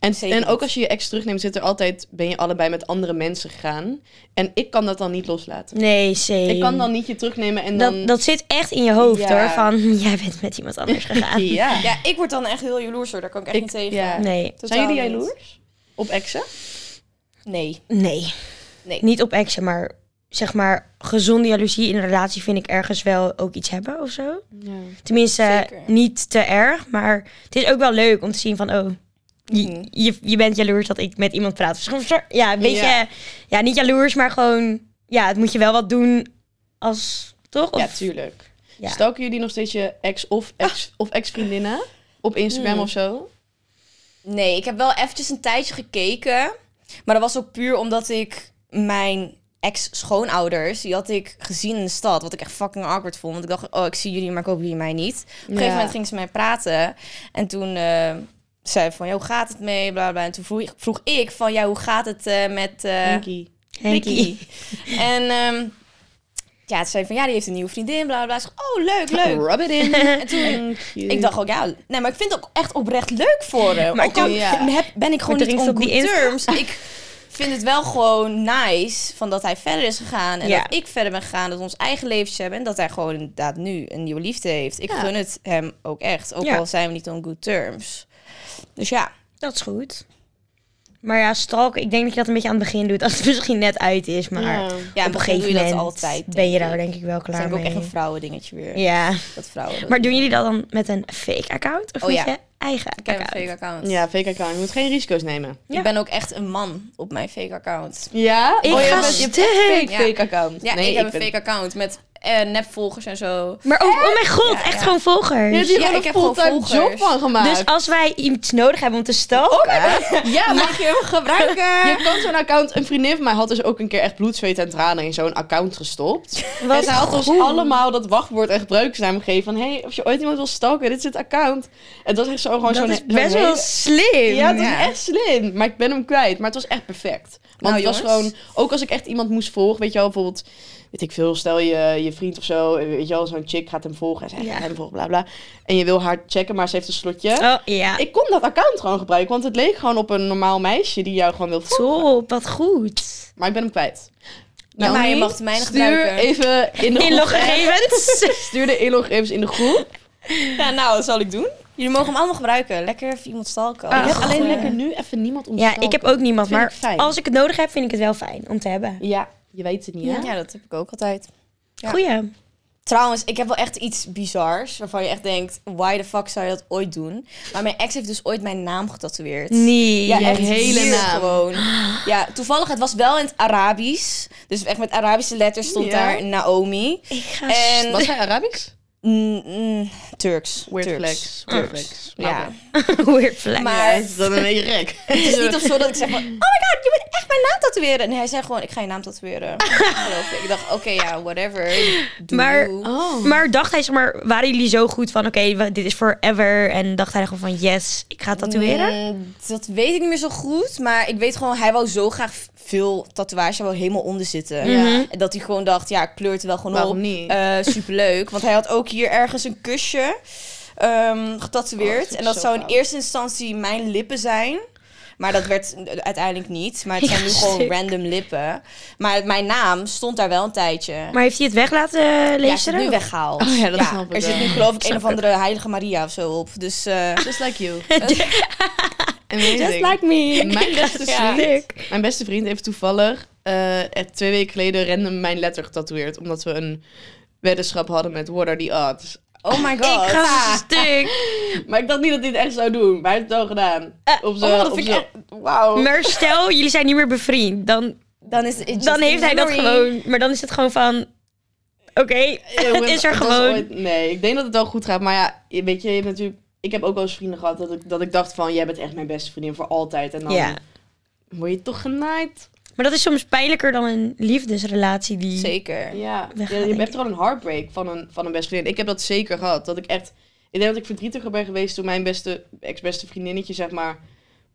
Speaker 2: En,
Speaker 3: Zeker
Speaker 2: en ook
Speaker 3: niet.
Speaker 2: als je je ex terugneemt, zit er altijd, ben je allebei met andere mensen gegaan. En ik kan dat dan niet loslaten.
Speaker 1: Nee, zeker.
Speaker 2: Ik
Speaker 3: Ehm,
Speaker 2: kan dan niet je terugnemen en dan...
Speaker 1: Dat, dat zit echt in je hoofd
Speaker 2: Ja.
Speaker 1: hoor. Van, jij bent met iemand anders gegaan.
Speaker 2: ja.
Speaker 3: Ja, ik word dan echt heel jaloers hoor. Daar kan ik echt
Speaker 2: Ik-
Speaker 3: niet tegen.
Speaker 2: ja.
Speaker 1: Nee.
Speaker 3: Totaal
Speaker 2: Zijn jullie
Speaker 3: niet.
Speaker 2: jaloers? Op exen?
Speaker 3: Nee.
Speaker 1: Nee.
Speaker 3: Nee.
Speaker 1: Niet op exen, maar zeg maar gezonde jaloezie in een relatie vind ik ergens wel ook iets hebben of zo.
Speaker 2: Ja.
Speaker 1: Tenminste,
Speaker 3: Zeker.
Speaker 1: niet te erg, maar het is ook wel leuk om te zien van, oh, je,
Speaker 3: Mhm.
Speaker 1: je, je bent jaloers dat ik met iemand praat. Dus gewoon zo- ja, een beetje, ja.
Speaker 2: Ja.
Speaker 1: niet jaloers, maar gewoon, ja, het moet je wel wat doen als, toch? Of-
Speaker 2: Ja, tuurlijk.
Speaker 1: Ja.
Speaker 2: Stalken jullie nog steeds je ex of ex of ex-vriendinnen op Instagram
Speaker 3: Ah. Hmm.
Speaker 2: of zo?
Speaker 3: Nee, ik heb wel eventjes een tijdje gekeken. Maar dat was ook puur omdat ik mijn ex-schoonouders, die had ik gezien in de stad. Wat ik echt fucking awkward vond. Want ik dacht, oh, ik zie jullie, maar ik hoop jullie mij niet. Op een gegeven
Speaker 2: Ja.
Speaker 3: moment ging ze met mij praten. En toen eh, zei ze van, ja, hoe gaat het mee? Bla, bla, bla. En toen vroeg, vroeg ik van, ja, hoe gaat het eh, met... eh,
Speaker 2: Henkie.
Speaker 1: Henkie.
Speaker 3: Ricky. en ehm, ja, ze zei van ja, die heeft een nieuwe vriendin, bla bla. bla. Ik zeg, oh, leuk, leuk.
Speaker 2: Rub it in.
Speaker 3: En toen,
Speaker 2: Thank you.
Speaker 3: ik dacht ook, ja, nee, maar ik vind het ook echt oprecht leuk voor hem.
Speaker 1: Maar
Speaker 3: Maar ook al
Speaker 2: toen- ja.
Speaker 3: heb- ben ik gewoon
Speaker 1: Maar toen ging ze
Speaker 3: niet on
Speaker 1: op die
Speaker 3: good
Speaker 1: Insta.
Speaker 3: terms. Ik vind het wel gewoon nice van dat hij verder is gegaan en
Speaker 1: Ja.
Speaker 3: dat ik verder ben gegaan, dat we ons eigen levens hebben en dat hij gewoon inderdaad nu een nieuwe liefde heeft. Ik
Speaker 2: Ja.
Speaker 3: gun het hem ook echt, ook
Speaker 1: Ja.
Speaker 3: al zijn we niet on good terms. Dus ja,
Speaker 1: Dat is goed. Maar ja, stalken, ik denk dat je dat een beetje aan het begin doet, als het misschien net uit is, maar...
Speaker 2: Ja.
Speaker 3: ja
Speaker 1: op een
Speaker 3: begin
Speaker 1: gegeven
Speaker 3: doe je
Speaker 1: moment
Speaker 3: dat altijd.
Speaker 1: ben je
Speaker 3: denk
Speaker 1: daar
Speaker 3: ik.
Speaker 1: denk ik wel
Speaker 3: Dat
Speaker 1: klaar
Speaker 3: is
Speaker 1: mee.
Speaker 3: denk ik ook echt een vrouwendingetje weer.
Speaker 1: Ja,
Speaker 3: Dat vrouwen. dat
Speaker 1: maar doen jullie dat dan met een fake account of
Speaker 3: Oh
Speaker 1: met
Speaker 3: ja.
Speaker 1: je eigen
Speaker 3: Ik heb
Speaker 1: account?
Speaker 3: een fake account.
Speaker 2: Ja, fake account. Je moet geen risico's nemen.
Speaker 1: Ja.
Speaker 3: Ik ben ook echt een man op mijn fake account.
Speaker 2: Ja?
Speaker 1: Ik
Speaker 2: Oh, je
Speaker 1: ga
Speaker 2: bent- je hebt echt
Speaker 1: stuk.
Speaker 2: fake,
Speaker 3: Ja.
Speaker 2: fake account.
Speaker 3: Ja,
Speaker 2: Nee,
Speaker 3: ik heb
Speaker 2: ik
Speaker 3: een
Speaker 2: ben-
Speaker 3: fake account met eh, nepvolgers en zo.
Speaker 1: Maar ook, oh mijn god,
Speaker 3: Ja,
Speaker 1: echt
Speaker 3: ja.
Speaker 1: gewoon
Speaker 2: Je
Speaker 1: volgers.
Speaker 2: hebt hier
Speaker 3: Ja,
Speaker 2: gewoon
Speaker 3: ik
Speaker 2: een
Speaker 3: heb gewoon
Speaker 2: fulltime job
Speaker 3: volgers.
Speaker 2: van gemaakt.
Speaker 1: Dus als wij iets nodig hebben om te
Speaker 3: Oh,
Speaker 1: stalken,
Speaker 2: ja, maar
Speaker 3: Mag je hem gebruiken?
Speaker 2: je kan zo'n account... Een vriendin van mij had dus ook een keer echt bloed, zweet en tranen in zo'n account gestopt. en
Speaker 1: wat
Speaker 2: ze had ons
Speaker 1: goed.
Speaker 2: allemaal dat wachtwoord en gebruikersnaam gegeven. Van, hey, of je ooit iemand wil stalken, dit is het account. En dat is echt zo gewoon
Speaker 1: dat
Speaker 2: zo'n...
Speaker 1: is
Speaker 2: zo'n
Speaker 1: best
Speaker 2: hele-
Speaker 1: wel slim.
Speaker 2: Ja, het was
Speaker 3: Ja.
Speaker 2: echt slim. Maar ik ben hem kwijt. Maar het was echt perfect. Want
Speaker 3: Nou,
Speaker 2: het was
Speaker 3: jongens.
Speaker 2: gewoon... Ook als ik echt iemand moest volgen, weet je wel, bijvoorbeeld... Weet ik veel, stel je, je vriend of zo, weet je wel, zo'n chick gaat hem volgen. En zegt,
Speaker 1: Ja.
Speaker 2: "Ik ga hem volgen, bla bla. En je wil haar checken, maar ze heeft een slotje.
Speaker 1: Oh ja,
Speaker 2: Ik kon dat account gewoon gebruiken, want het leek gewoon op een normaal meisje die jou gewoon wil volgen.
Speaker 1: top, wat goed.
Speaker 2: Maar ik ben hem kwijt.
Speaker 3: Ja, maar je
Speaker 2: Henry,
Speaker 3: mag mijne
Speaker 2: stuur
Speaker 3: gebruiken.
Speaker 2: even in de groep.
Speaker 1: Inloggegevens.
Speaker 2: Stuur de inloggegevens in de groep.
Speaker 3: Ja, nou, dat zal ik doen. Jullie mogen hem allemaal gebruiken. Lekker even iemand stalken.
Speaker 1: Ah,
Speaker 2: ik heb
Speaker 1: goed.
Speaker 2: alleen lekker nu even niemand om te
Speaker 1: ja, ik
Speaker 2: stalken.
Speaker 1: heb ook niemand,
Speaker 2: Vind
Speaker 1: maar
Speaker 2: ik fijn.
Speaker 1: als ik het nodig heb, vind ik het wel fijn om te hebben.
Speaker 2: Ja, je weet het niet, hè?
Speaker 3: Ja, dat heb ik ook altijd. Ja.
Speaker 1: Goeie.
Speaker 3: Trouwens, ik heb wel echt iets bizars waarvan je echt denkt, why the fuck zou je dat ooit doen? Maar mijn ex heeft dus ooit mijn naam getatoeëerd.
Speaker 1: Nee.
Speaker 3: Ja,
Speaker 2: Je
Speaker 3: echt
Speaker 2: hele
Speaker 3: hier
Speaker 2: naam.
Speaker 3: gewoon. Ja, toevallig, het was wel in het Arabisch. Dus echt met Arabische letters stond
Speaker 2: Ja.
Speaker 3: daar Naomi.
Speaker 1: Ik ga
Speaker 3: En
Speaker 2: Was hij Arabisch?
Speaker 3: Mm, mm, Turks.
Speaker 2: Weird
Speaker 3: Turks.
Speaker 2: flex. Weird flex.
Speaker 3: Ja.
Speaker 1: weird flag.
Speaker 3: Maar
Speaker 2: dat is dan een beetje gek.
Speaker 3: het is niet of zo dat ik zeg van... Oh my god, je bent echt mijn naam tatoeëren. Nee, hij zei gewoon, ik ga je naam tatoeëren. Geloof ik. Ik dacht, oké, ja, whatever. Doe
Speaker 1: Maar-
Speaker 3: you.
Speaker 2: Oh.
Speaker 1: Maar dacht hij, zeg maar, waren jullie zo goed van, oké, we- dit is forever. En dacht hij gewoon van, yes, ik ga het tatoeëren?
Speaker 3: Mm, dat weet ik niet meer zo goed. Maar ik weet gewoon, hij wou zo graag v- veel tatoeage. Hij wou helemaal onder zitten.
Speaker 1: Mhm.
Speaker 3: En dat hij gewoon dacht, ja, ik kleur het wel gewoon
Speaker 2: Waarom
Speaker 3: op.
Speaker 2: niet?
Speaker 3: Eh, superleuk. Want hij had ook hier ergens een kusje ehm
Speaker 2: Oh, dat
Speaker 3: getatoeëerd.
Speaker 2: vind ik
Speaker 3: en dat
Speaker 2: zo
Speaker 3: zou in
Speaker 2: fout.
Speaker 3: eerste instantie mijn lippen zijn. Maar dat werd eh, uiteindelijk niet. Maar het zijn nu
Speaker 1: Ja,
Speaker 3: gewoon
Speaker 1: stuk.
Speaker 3: random lippen. Maar mijn naam stond daar wel een tijdje.
Speaker 1: Maar heeft hij het weg laten eh,
Speaker 3: ja, is
Speaker 1: lezen?
Speaker 3: het nu weggehaald.
Speaker 2: Oh ja, dat snap ik
Speaker 3: Er zit
Speaker 2: wel.
Speaker 3: nu geloof ik een
Speaker 1: Snap
Speaker 3: of andere heilige Maria of zo op. Dus eh,
Speaker 2: Just like you. Amazing.
Speaker 1: Just like me.
Speaker 2: Mijn beste
Speaker 3: Ja.
Speaker 2: vriend,
Speaker 1: Leuk.
Speaker 2: mijn beste vriend heeft toevallig eh, echt twee weken geleden random mijn letter getatoeëerd. Omdat we een weddenschap hadden met What are the odds.
Speaker 3: oh my god.
Speaker 1: Ik ga stuk.
Speaker 2: Maar ik dacht niet dat hij het echt zou doen, maar hij heeft het wel gedaan.
Speaker 1: Eh,
Speaker 2: Op
Speaker 3: oh,
Speaker 2: zo,
Speaker 3: dat
Speaker 2: op
Speaker 3: vind
Speaker 2: zo.
Speaker 3: ik Wauw.
Speaker 1: Maar stel, jullie zijn niet meer bevriend. Dan,
Speaker 3: Dan, is het just
Speaker 1: dan heeft hij dat
Speaker 3: memory.
Speaker 1: gewoon. Maar dan is het gewoon van. Oké, het is er
Speaker 2: Dat was
Speaker 1: gewoon.
Speaker 2: ooit- nee, ik denk dat het wel goed gaat. Maar ja, je- weet je, je hebt natuurlijk... Ik heb ook wel eens vrienden gehad dat ik, dat ik dacht van... Jij bent echt mijn beste vriendin voor altijd. En dan
Speaker 1: Ja.
Speaker 2: word je toch genaaid.
Speaker 1: Maar dat is soms pijnlijker dan een liefdesrelatie die.
Speaker 3: Zeker.
Speaker 2: Ja,
Speaker 1: We gaan,
Speaker 2: ja je
Speaker 1: denk
Speaker 2: hebt gewoon een heartbreak van een, van een beste vriendin. Ik heb dat zeker gehad. Dat ik echt... Ik denk dat ik verdrietiger ben geweest toen mijn beste, ex-beste vriendinnetje, zeg maar...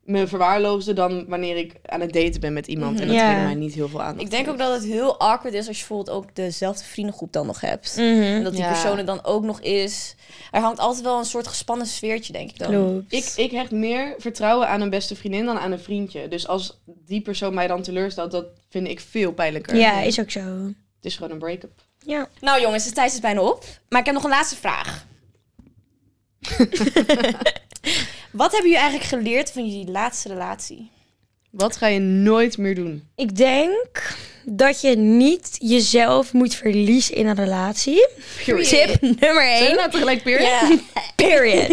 Speaker 2: Me verwaarloosde dan wanneer ik aan het daten ben met iemand. En dat
Speaker 1: Mhm. Ja.
Speaker 2: ja. mij niet heel veel aan.
Speaker 3: Ik denk ook dat het heel awkward is als je bijvoorbeeld ook dezelfde vriendengroep dan nog hebt. En
Speaker 1: Mhm.
Speaker 3: dat die
Speaker 2: Ja.
Speaker 3: persoon er dan ook nog is. Er hangt altijd wel een soort gespannen sfeertje, denk ik dan.
Speaker 1: Klopt.
Speaker 2: Ik, ik hecht meer vertrouwen aan een beste vriendin dan aan een vriendje. Dus als die persoon mij dan teleurstelt, dat vind ik veel pijnlijker.
Speaker 1: ja, is ook zo.
Speaker 2: Het is gewoon een break-up.
Speaker 1: Ja.
Speaker 3: Nou jongens, de tijd is bijna op. Maar ik heb nog een laatste vraag. Wat hebben jullie eigenlijk geleerd van jullie laatste relatie?
Speaker 2: Wat ga je nooit meer doen?
Speaker 1: Ik denk dat je niet jezelf moet verliezen in een relatie. Tip nummer
Speaker 2: Zijn we
Speaker 1: 1.
Speaker 2: nou tegelijk period?
Speaker 3: Ja.
Speaker 1: Period.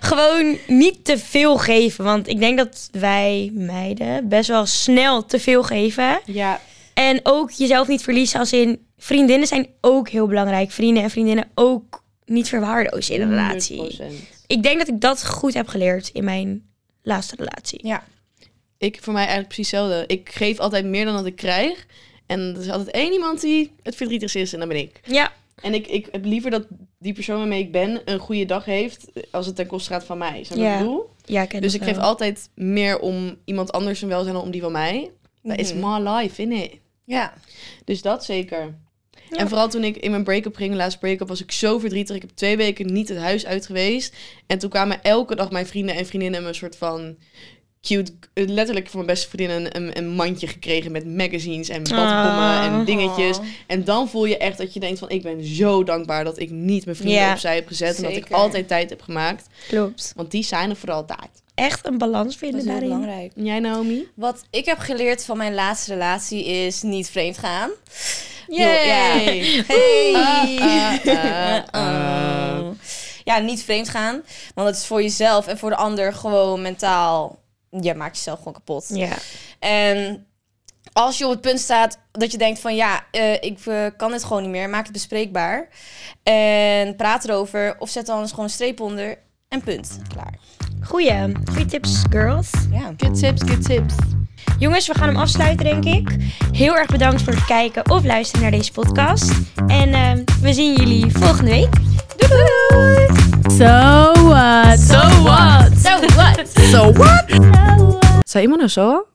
Speaker 1: Gewoon niet te veel geven. Want ik denk dat wij meiden best wel snel te veel geven.
Speaker 2: Ja.
Speaker 1: En ook jezelf niet verliezen als in... Vriendinnen zijn ook heel belangrijk. Vrienden en vriendinnen ook niet verwaarlozen in een relatie.
Speaker 2: 100%.
Speaker 1: Ik denk dat ik dat goed heb geleerd in mijn laatste relatie.
Speaker 3: ja.
Speaker 2: Ik voor mij eigenlijk precies hetzelfde. Ik geef altijd meer dan dat ik krijg. En er is altijd één iemand die het verdrietig is en dat ben ik.
Speaker 1: Ja,
Speaker 2: En ik, ik heb liever dat die persoon waarmee ik ben een goede dag heeft als het ten koste gaat van mij. Snap je wat
Speaker 1: Ja.
Speaker 2: ik bedoel?
Speaker 1: ja ik ken
Speaker 2: Dus
Speaker 1: dat
Speaker 2: ik geef
Speaker 1: wel.
Speaker 2: altijd meer om iemand anders zijn welzijn dan om die van mij. Dat is
Speaker 3: Mhm.
Speaker 2: my life, innit?
Speaker 3: Ja.
Speaker 2: Dus dat zeker.
Speaker 1: Ja.
Speaker 2: En vooral toen ik in mijn break-up ging, laatste break-up, was ik zo verdrietig. Ik heb twee weken niet het huis uit geweest. En toen kwamen elke dag mijn vrienden en vriendinnen me een soort van cute, eh, letterlijk van mijn beste vriendinnen, een, een mandje gekregen met magazines en badbommen
Speaker 1: Ah.
Speaker 2: en dingetjes. En dan voel je echt dat je denkt van, ik ben zo dankbaar dat ik niet mijn vrienden
Speaker 1: Ja.
Speaker 2: opzij heb gezet. En dat ik
Speaker 3: Zeker.
Speaker 2: altijd tijd heb gemaakt.
Speaker 1: Klopt.
Speaker 2: Want die zijn er voor altijd.
Speaker 1: Echt een balans
Speaker 3: Dat
Speaker 1: vinden
Speaker 3: is heel
Speaker 1: daarin.
Speaker 3: belangrijk.
Speaker 2: En jij Naomi?
Speaker 3: Wat ik heb geleerd van mijn laatste relatie is niet vreemd gaan.
Speaker 2: Joh,
Speaker 3: Yay.
Speaker 2: ja.
Speaker 3: Hey!
Speaker 2: Ah, ah, ah,
Speaker 3: Uh-oh.
Speaker 2: ah.
Speaker 3: Ja, niet vreemd gaan. Want het is voor jezelf en voor de ander gewoon mentaal. Je maakt jezelf gewoon kapot.
Speaker 1: Ja.
Speaker 3: En als je op het punt staat dat je denkt van ja, eh, ik eh, kan dit gewoon niet meer, maak het bespreekbaar. En praat erover of zet dan eens gewoon een streep onder en punt. Klaar.
Speaker 1: Goeie. Goeie tips, girls.
Speaker 3: Ja.
Speaker 2: Good tips, good tips.
Speaker 1: Jongens, we gaan hem afsluiten, denk ik. Heel erg bedankt voor het kijken of luisteren naar deze podcast. En ehm, we zien jullie volgende week. Doei doei!
Speaker 2: So what? So what?
Speaker 1: So what?
Speaker 2: So what?
Speaker 1: So what?
Speaker 2: Zei iemand nou zo?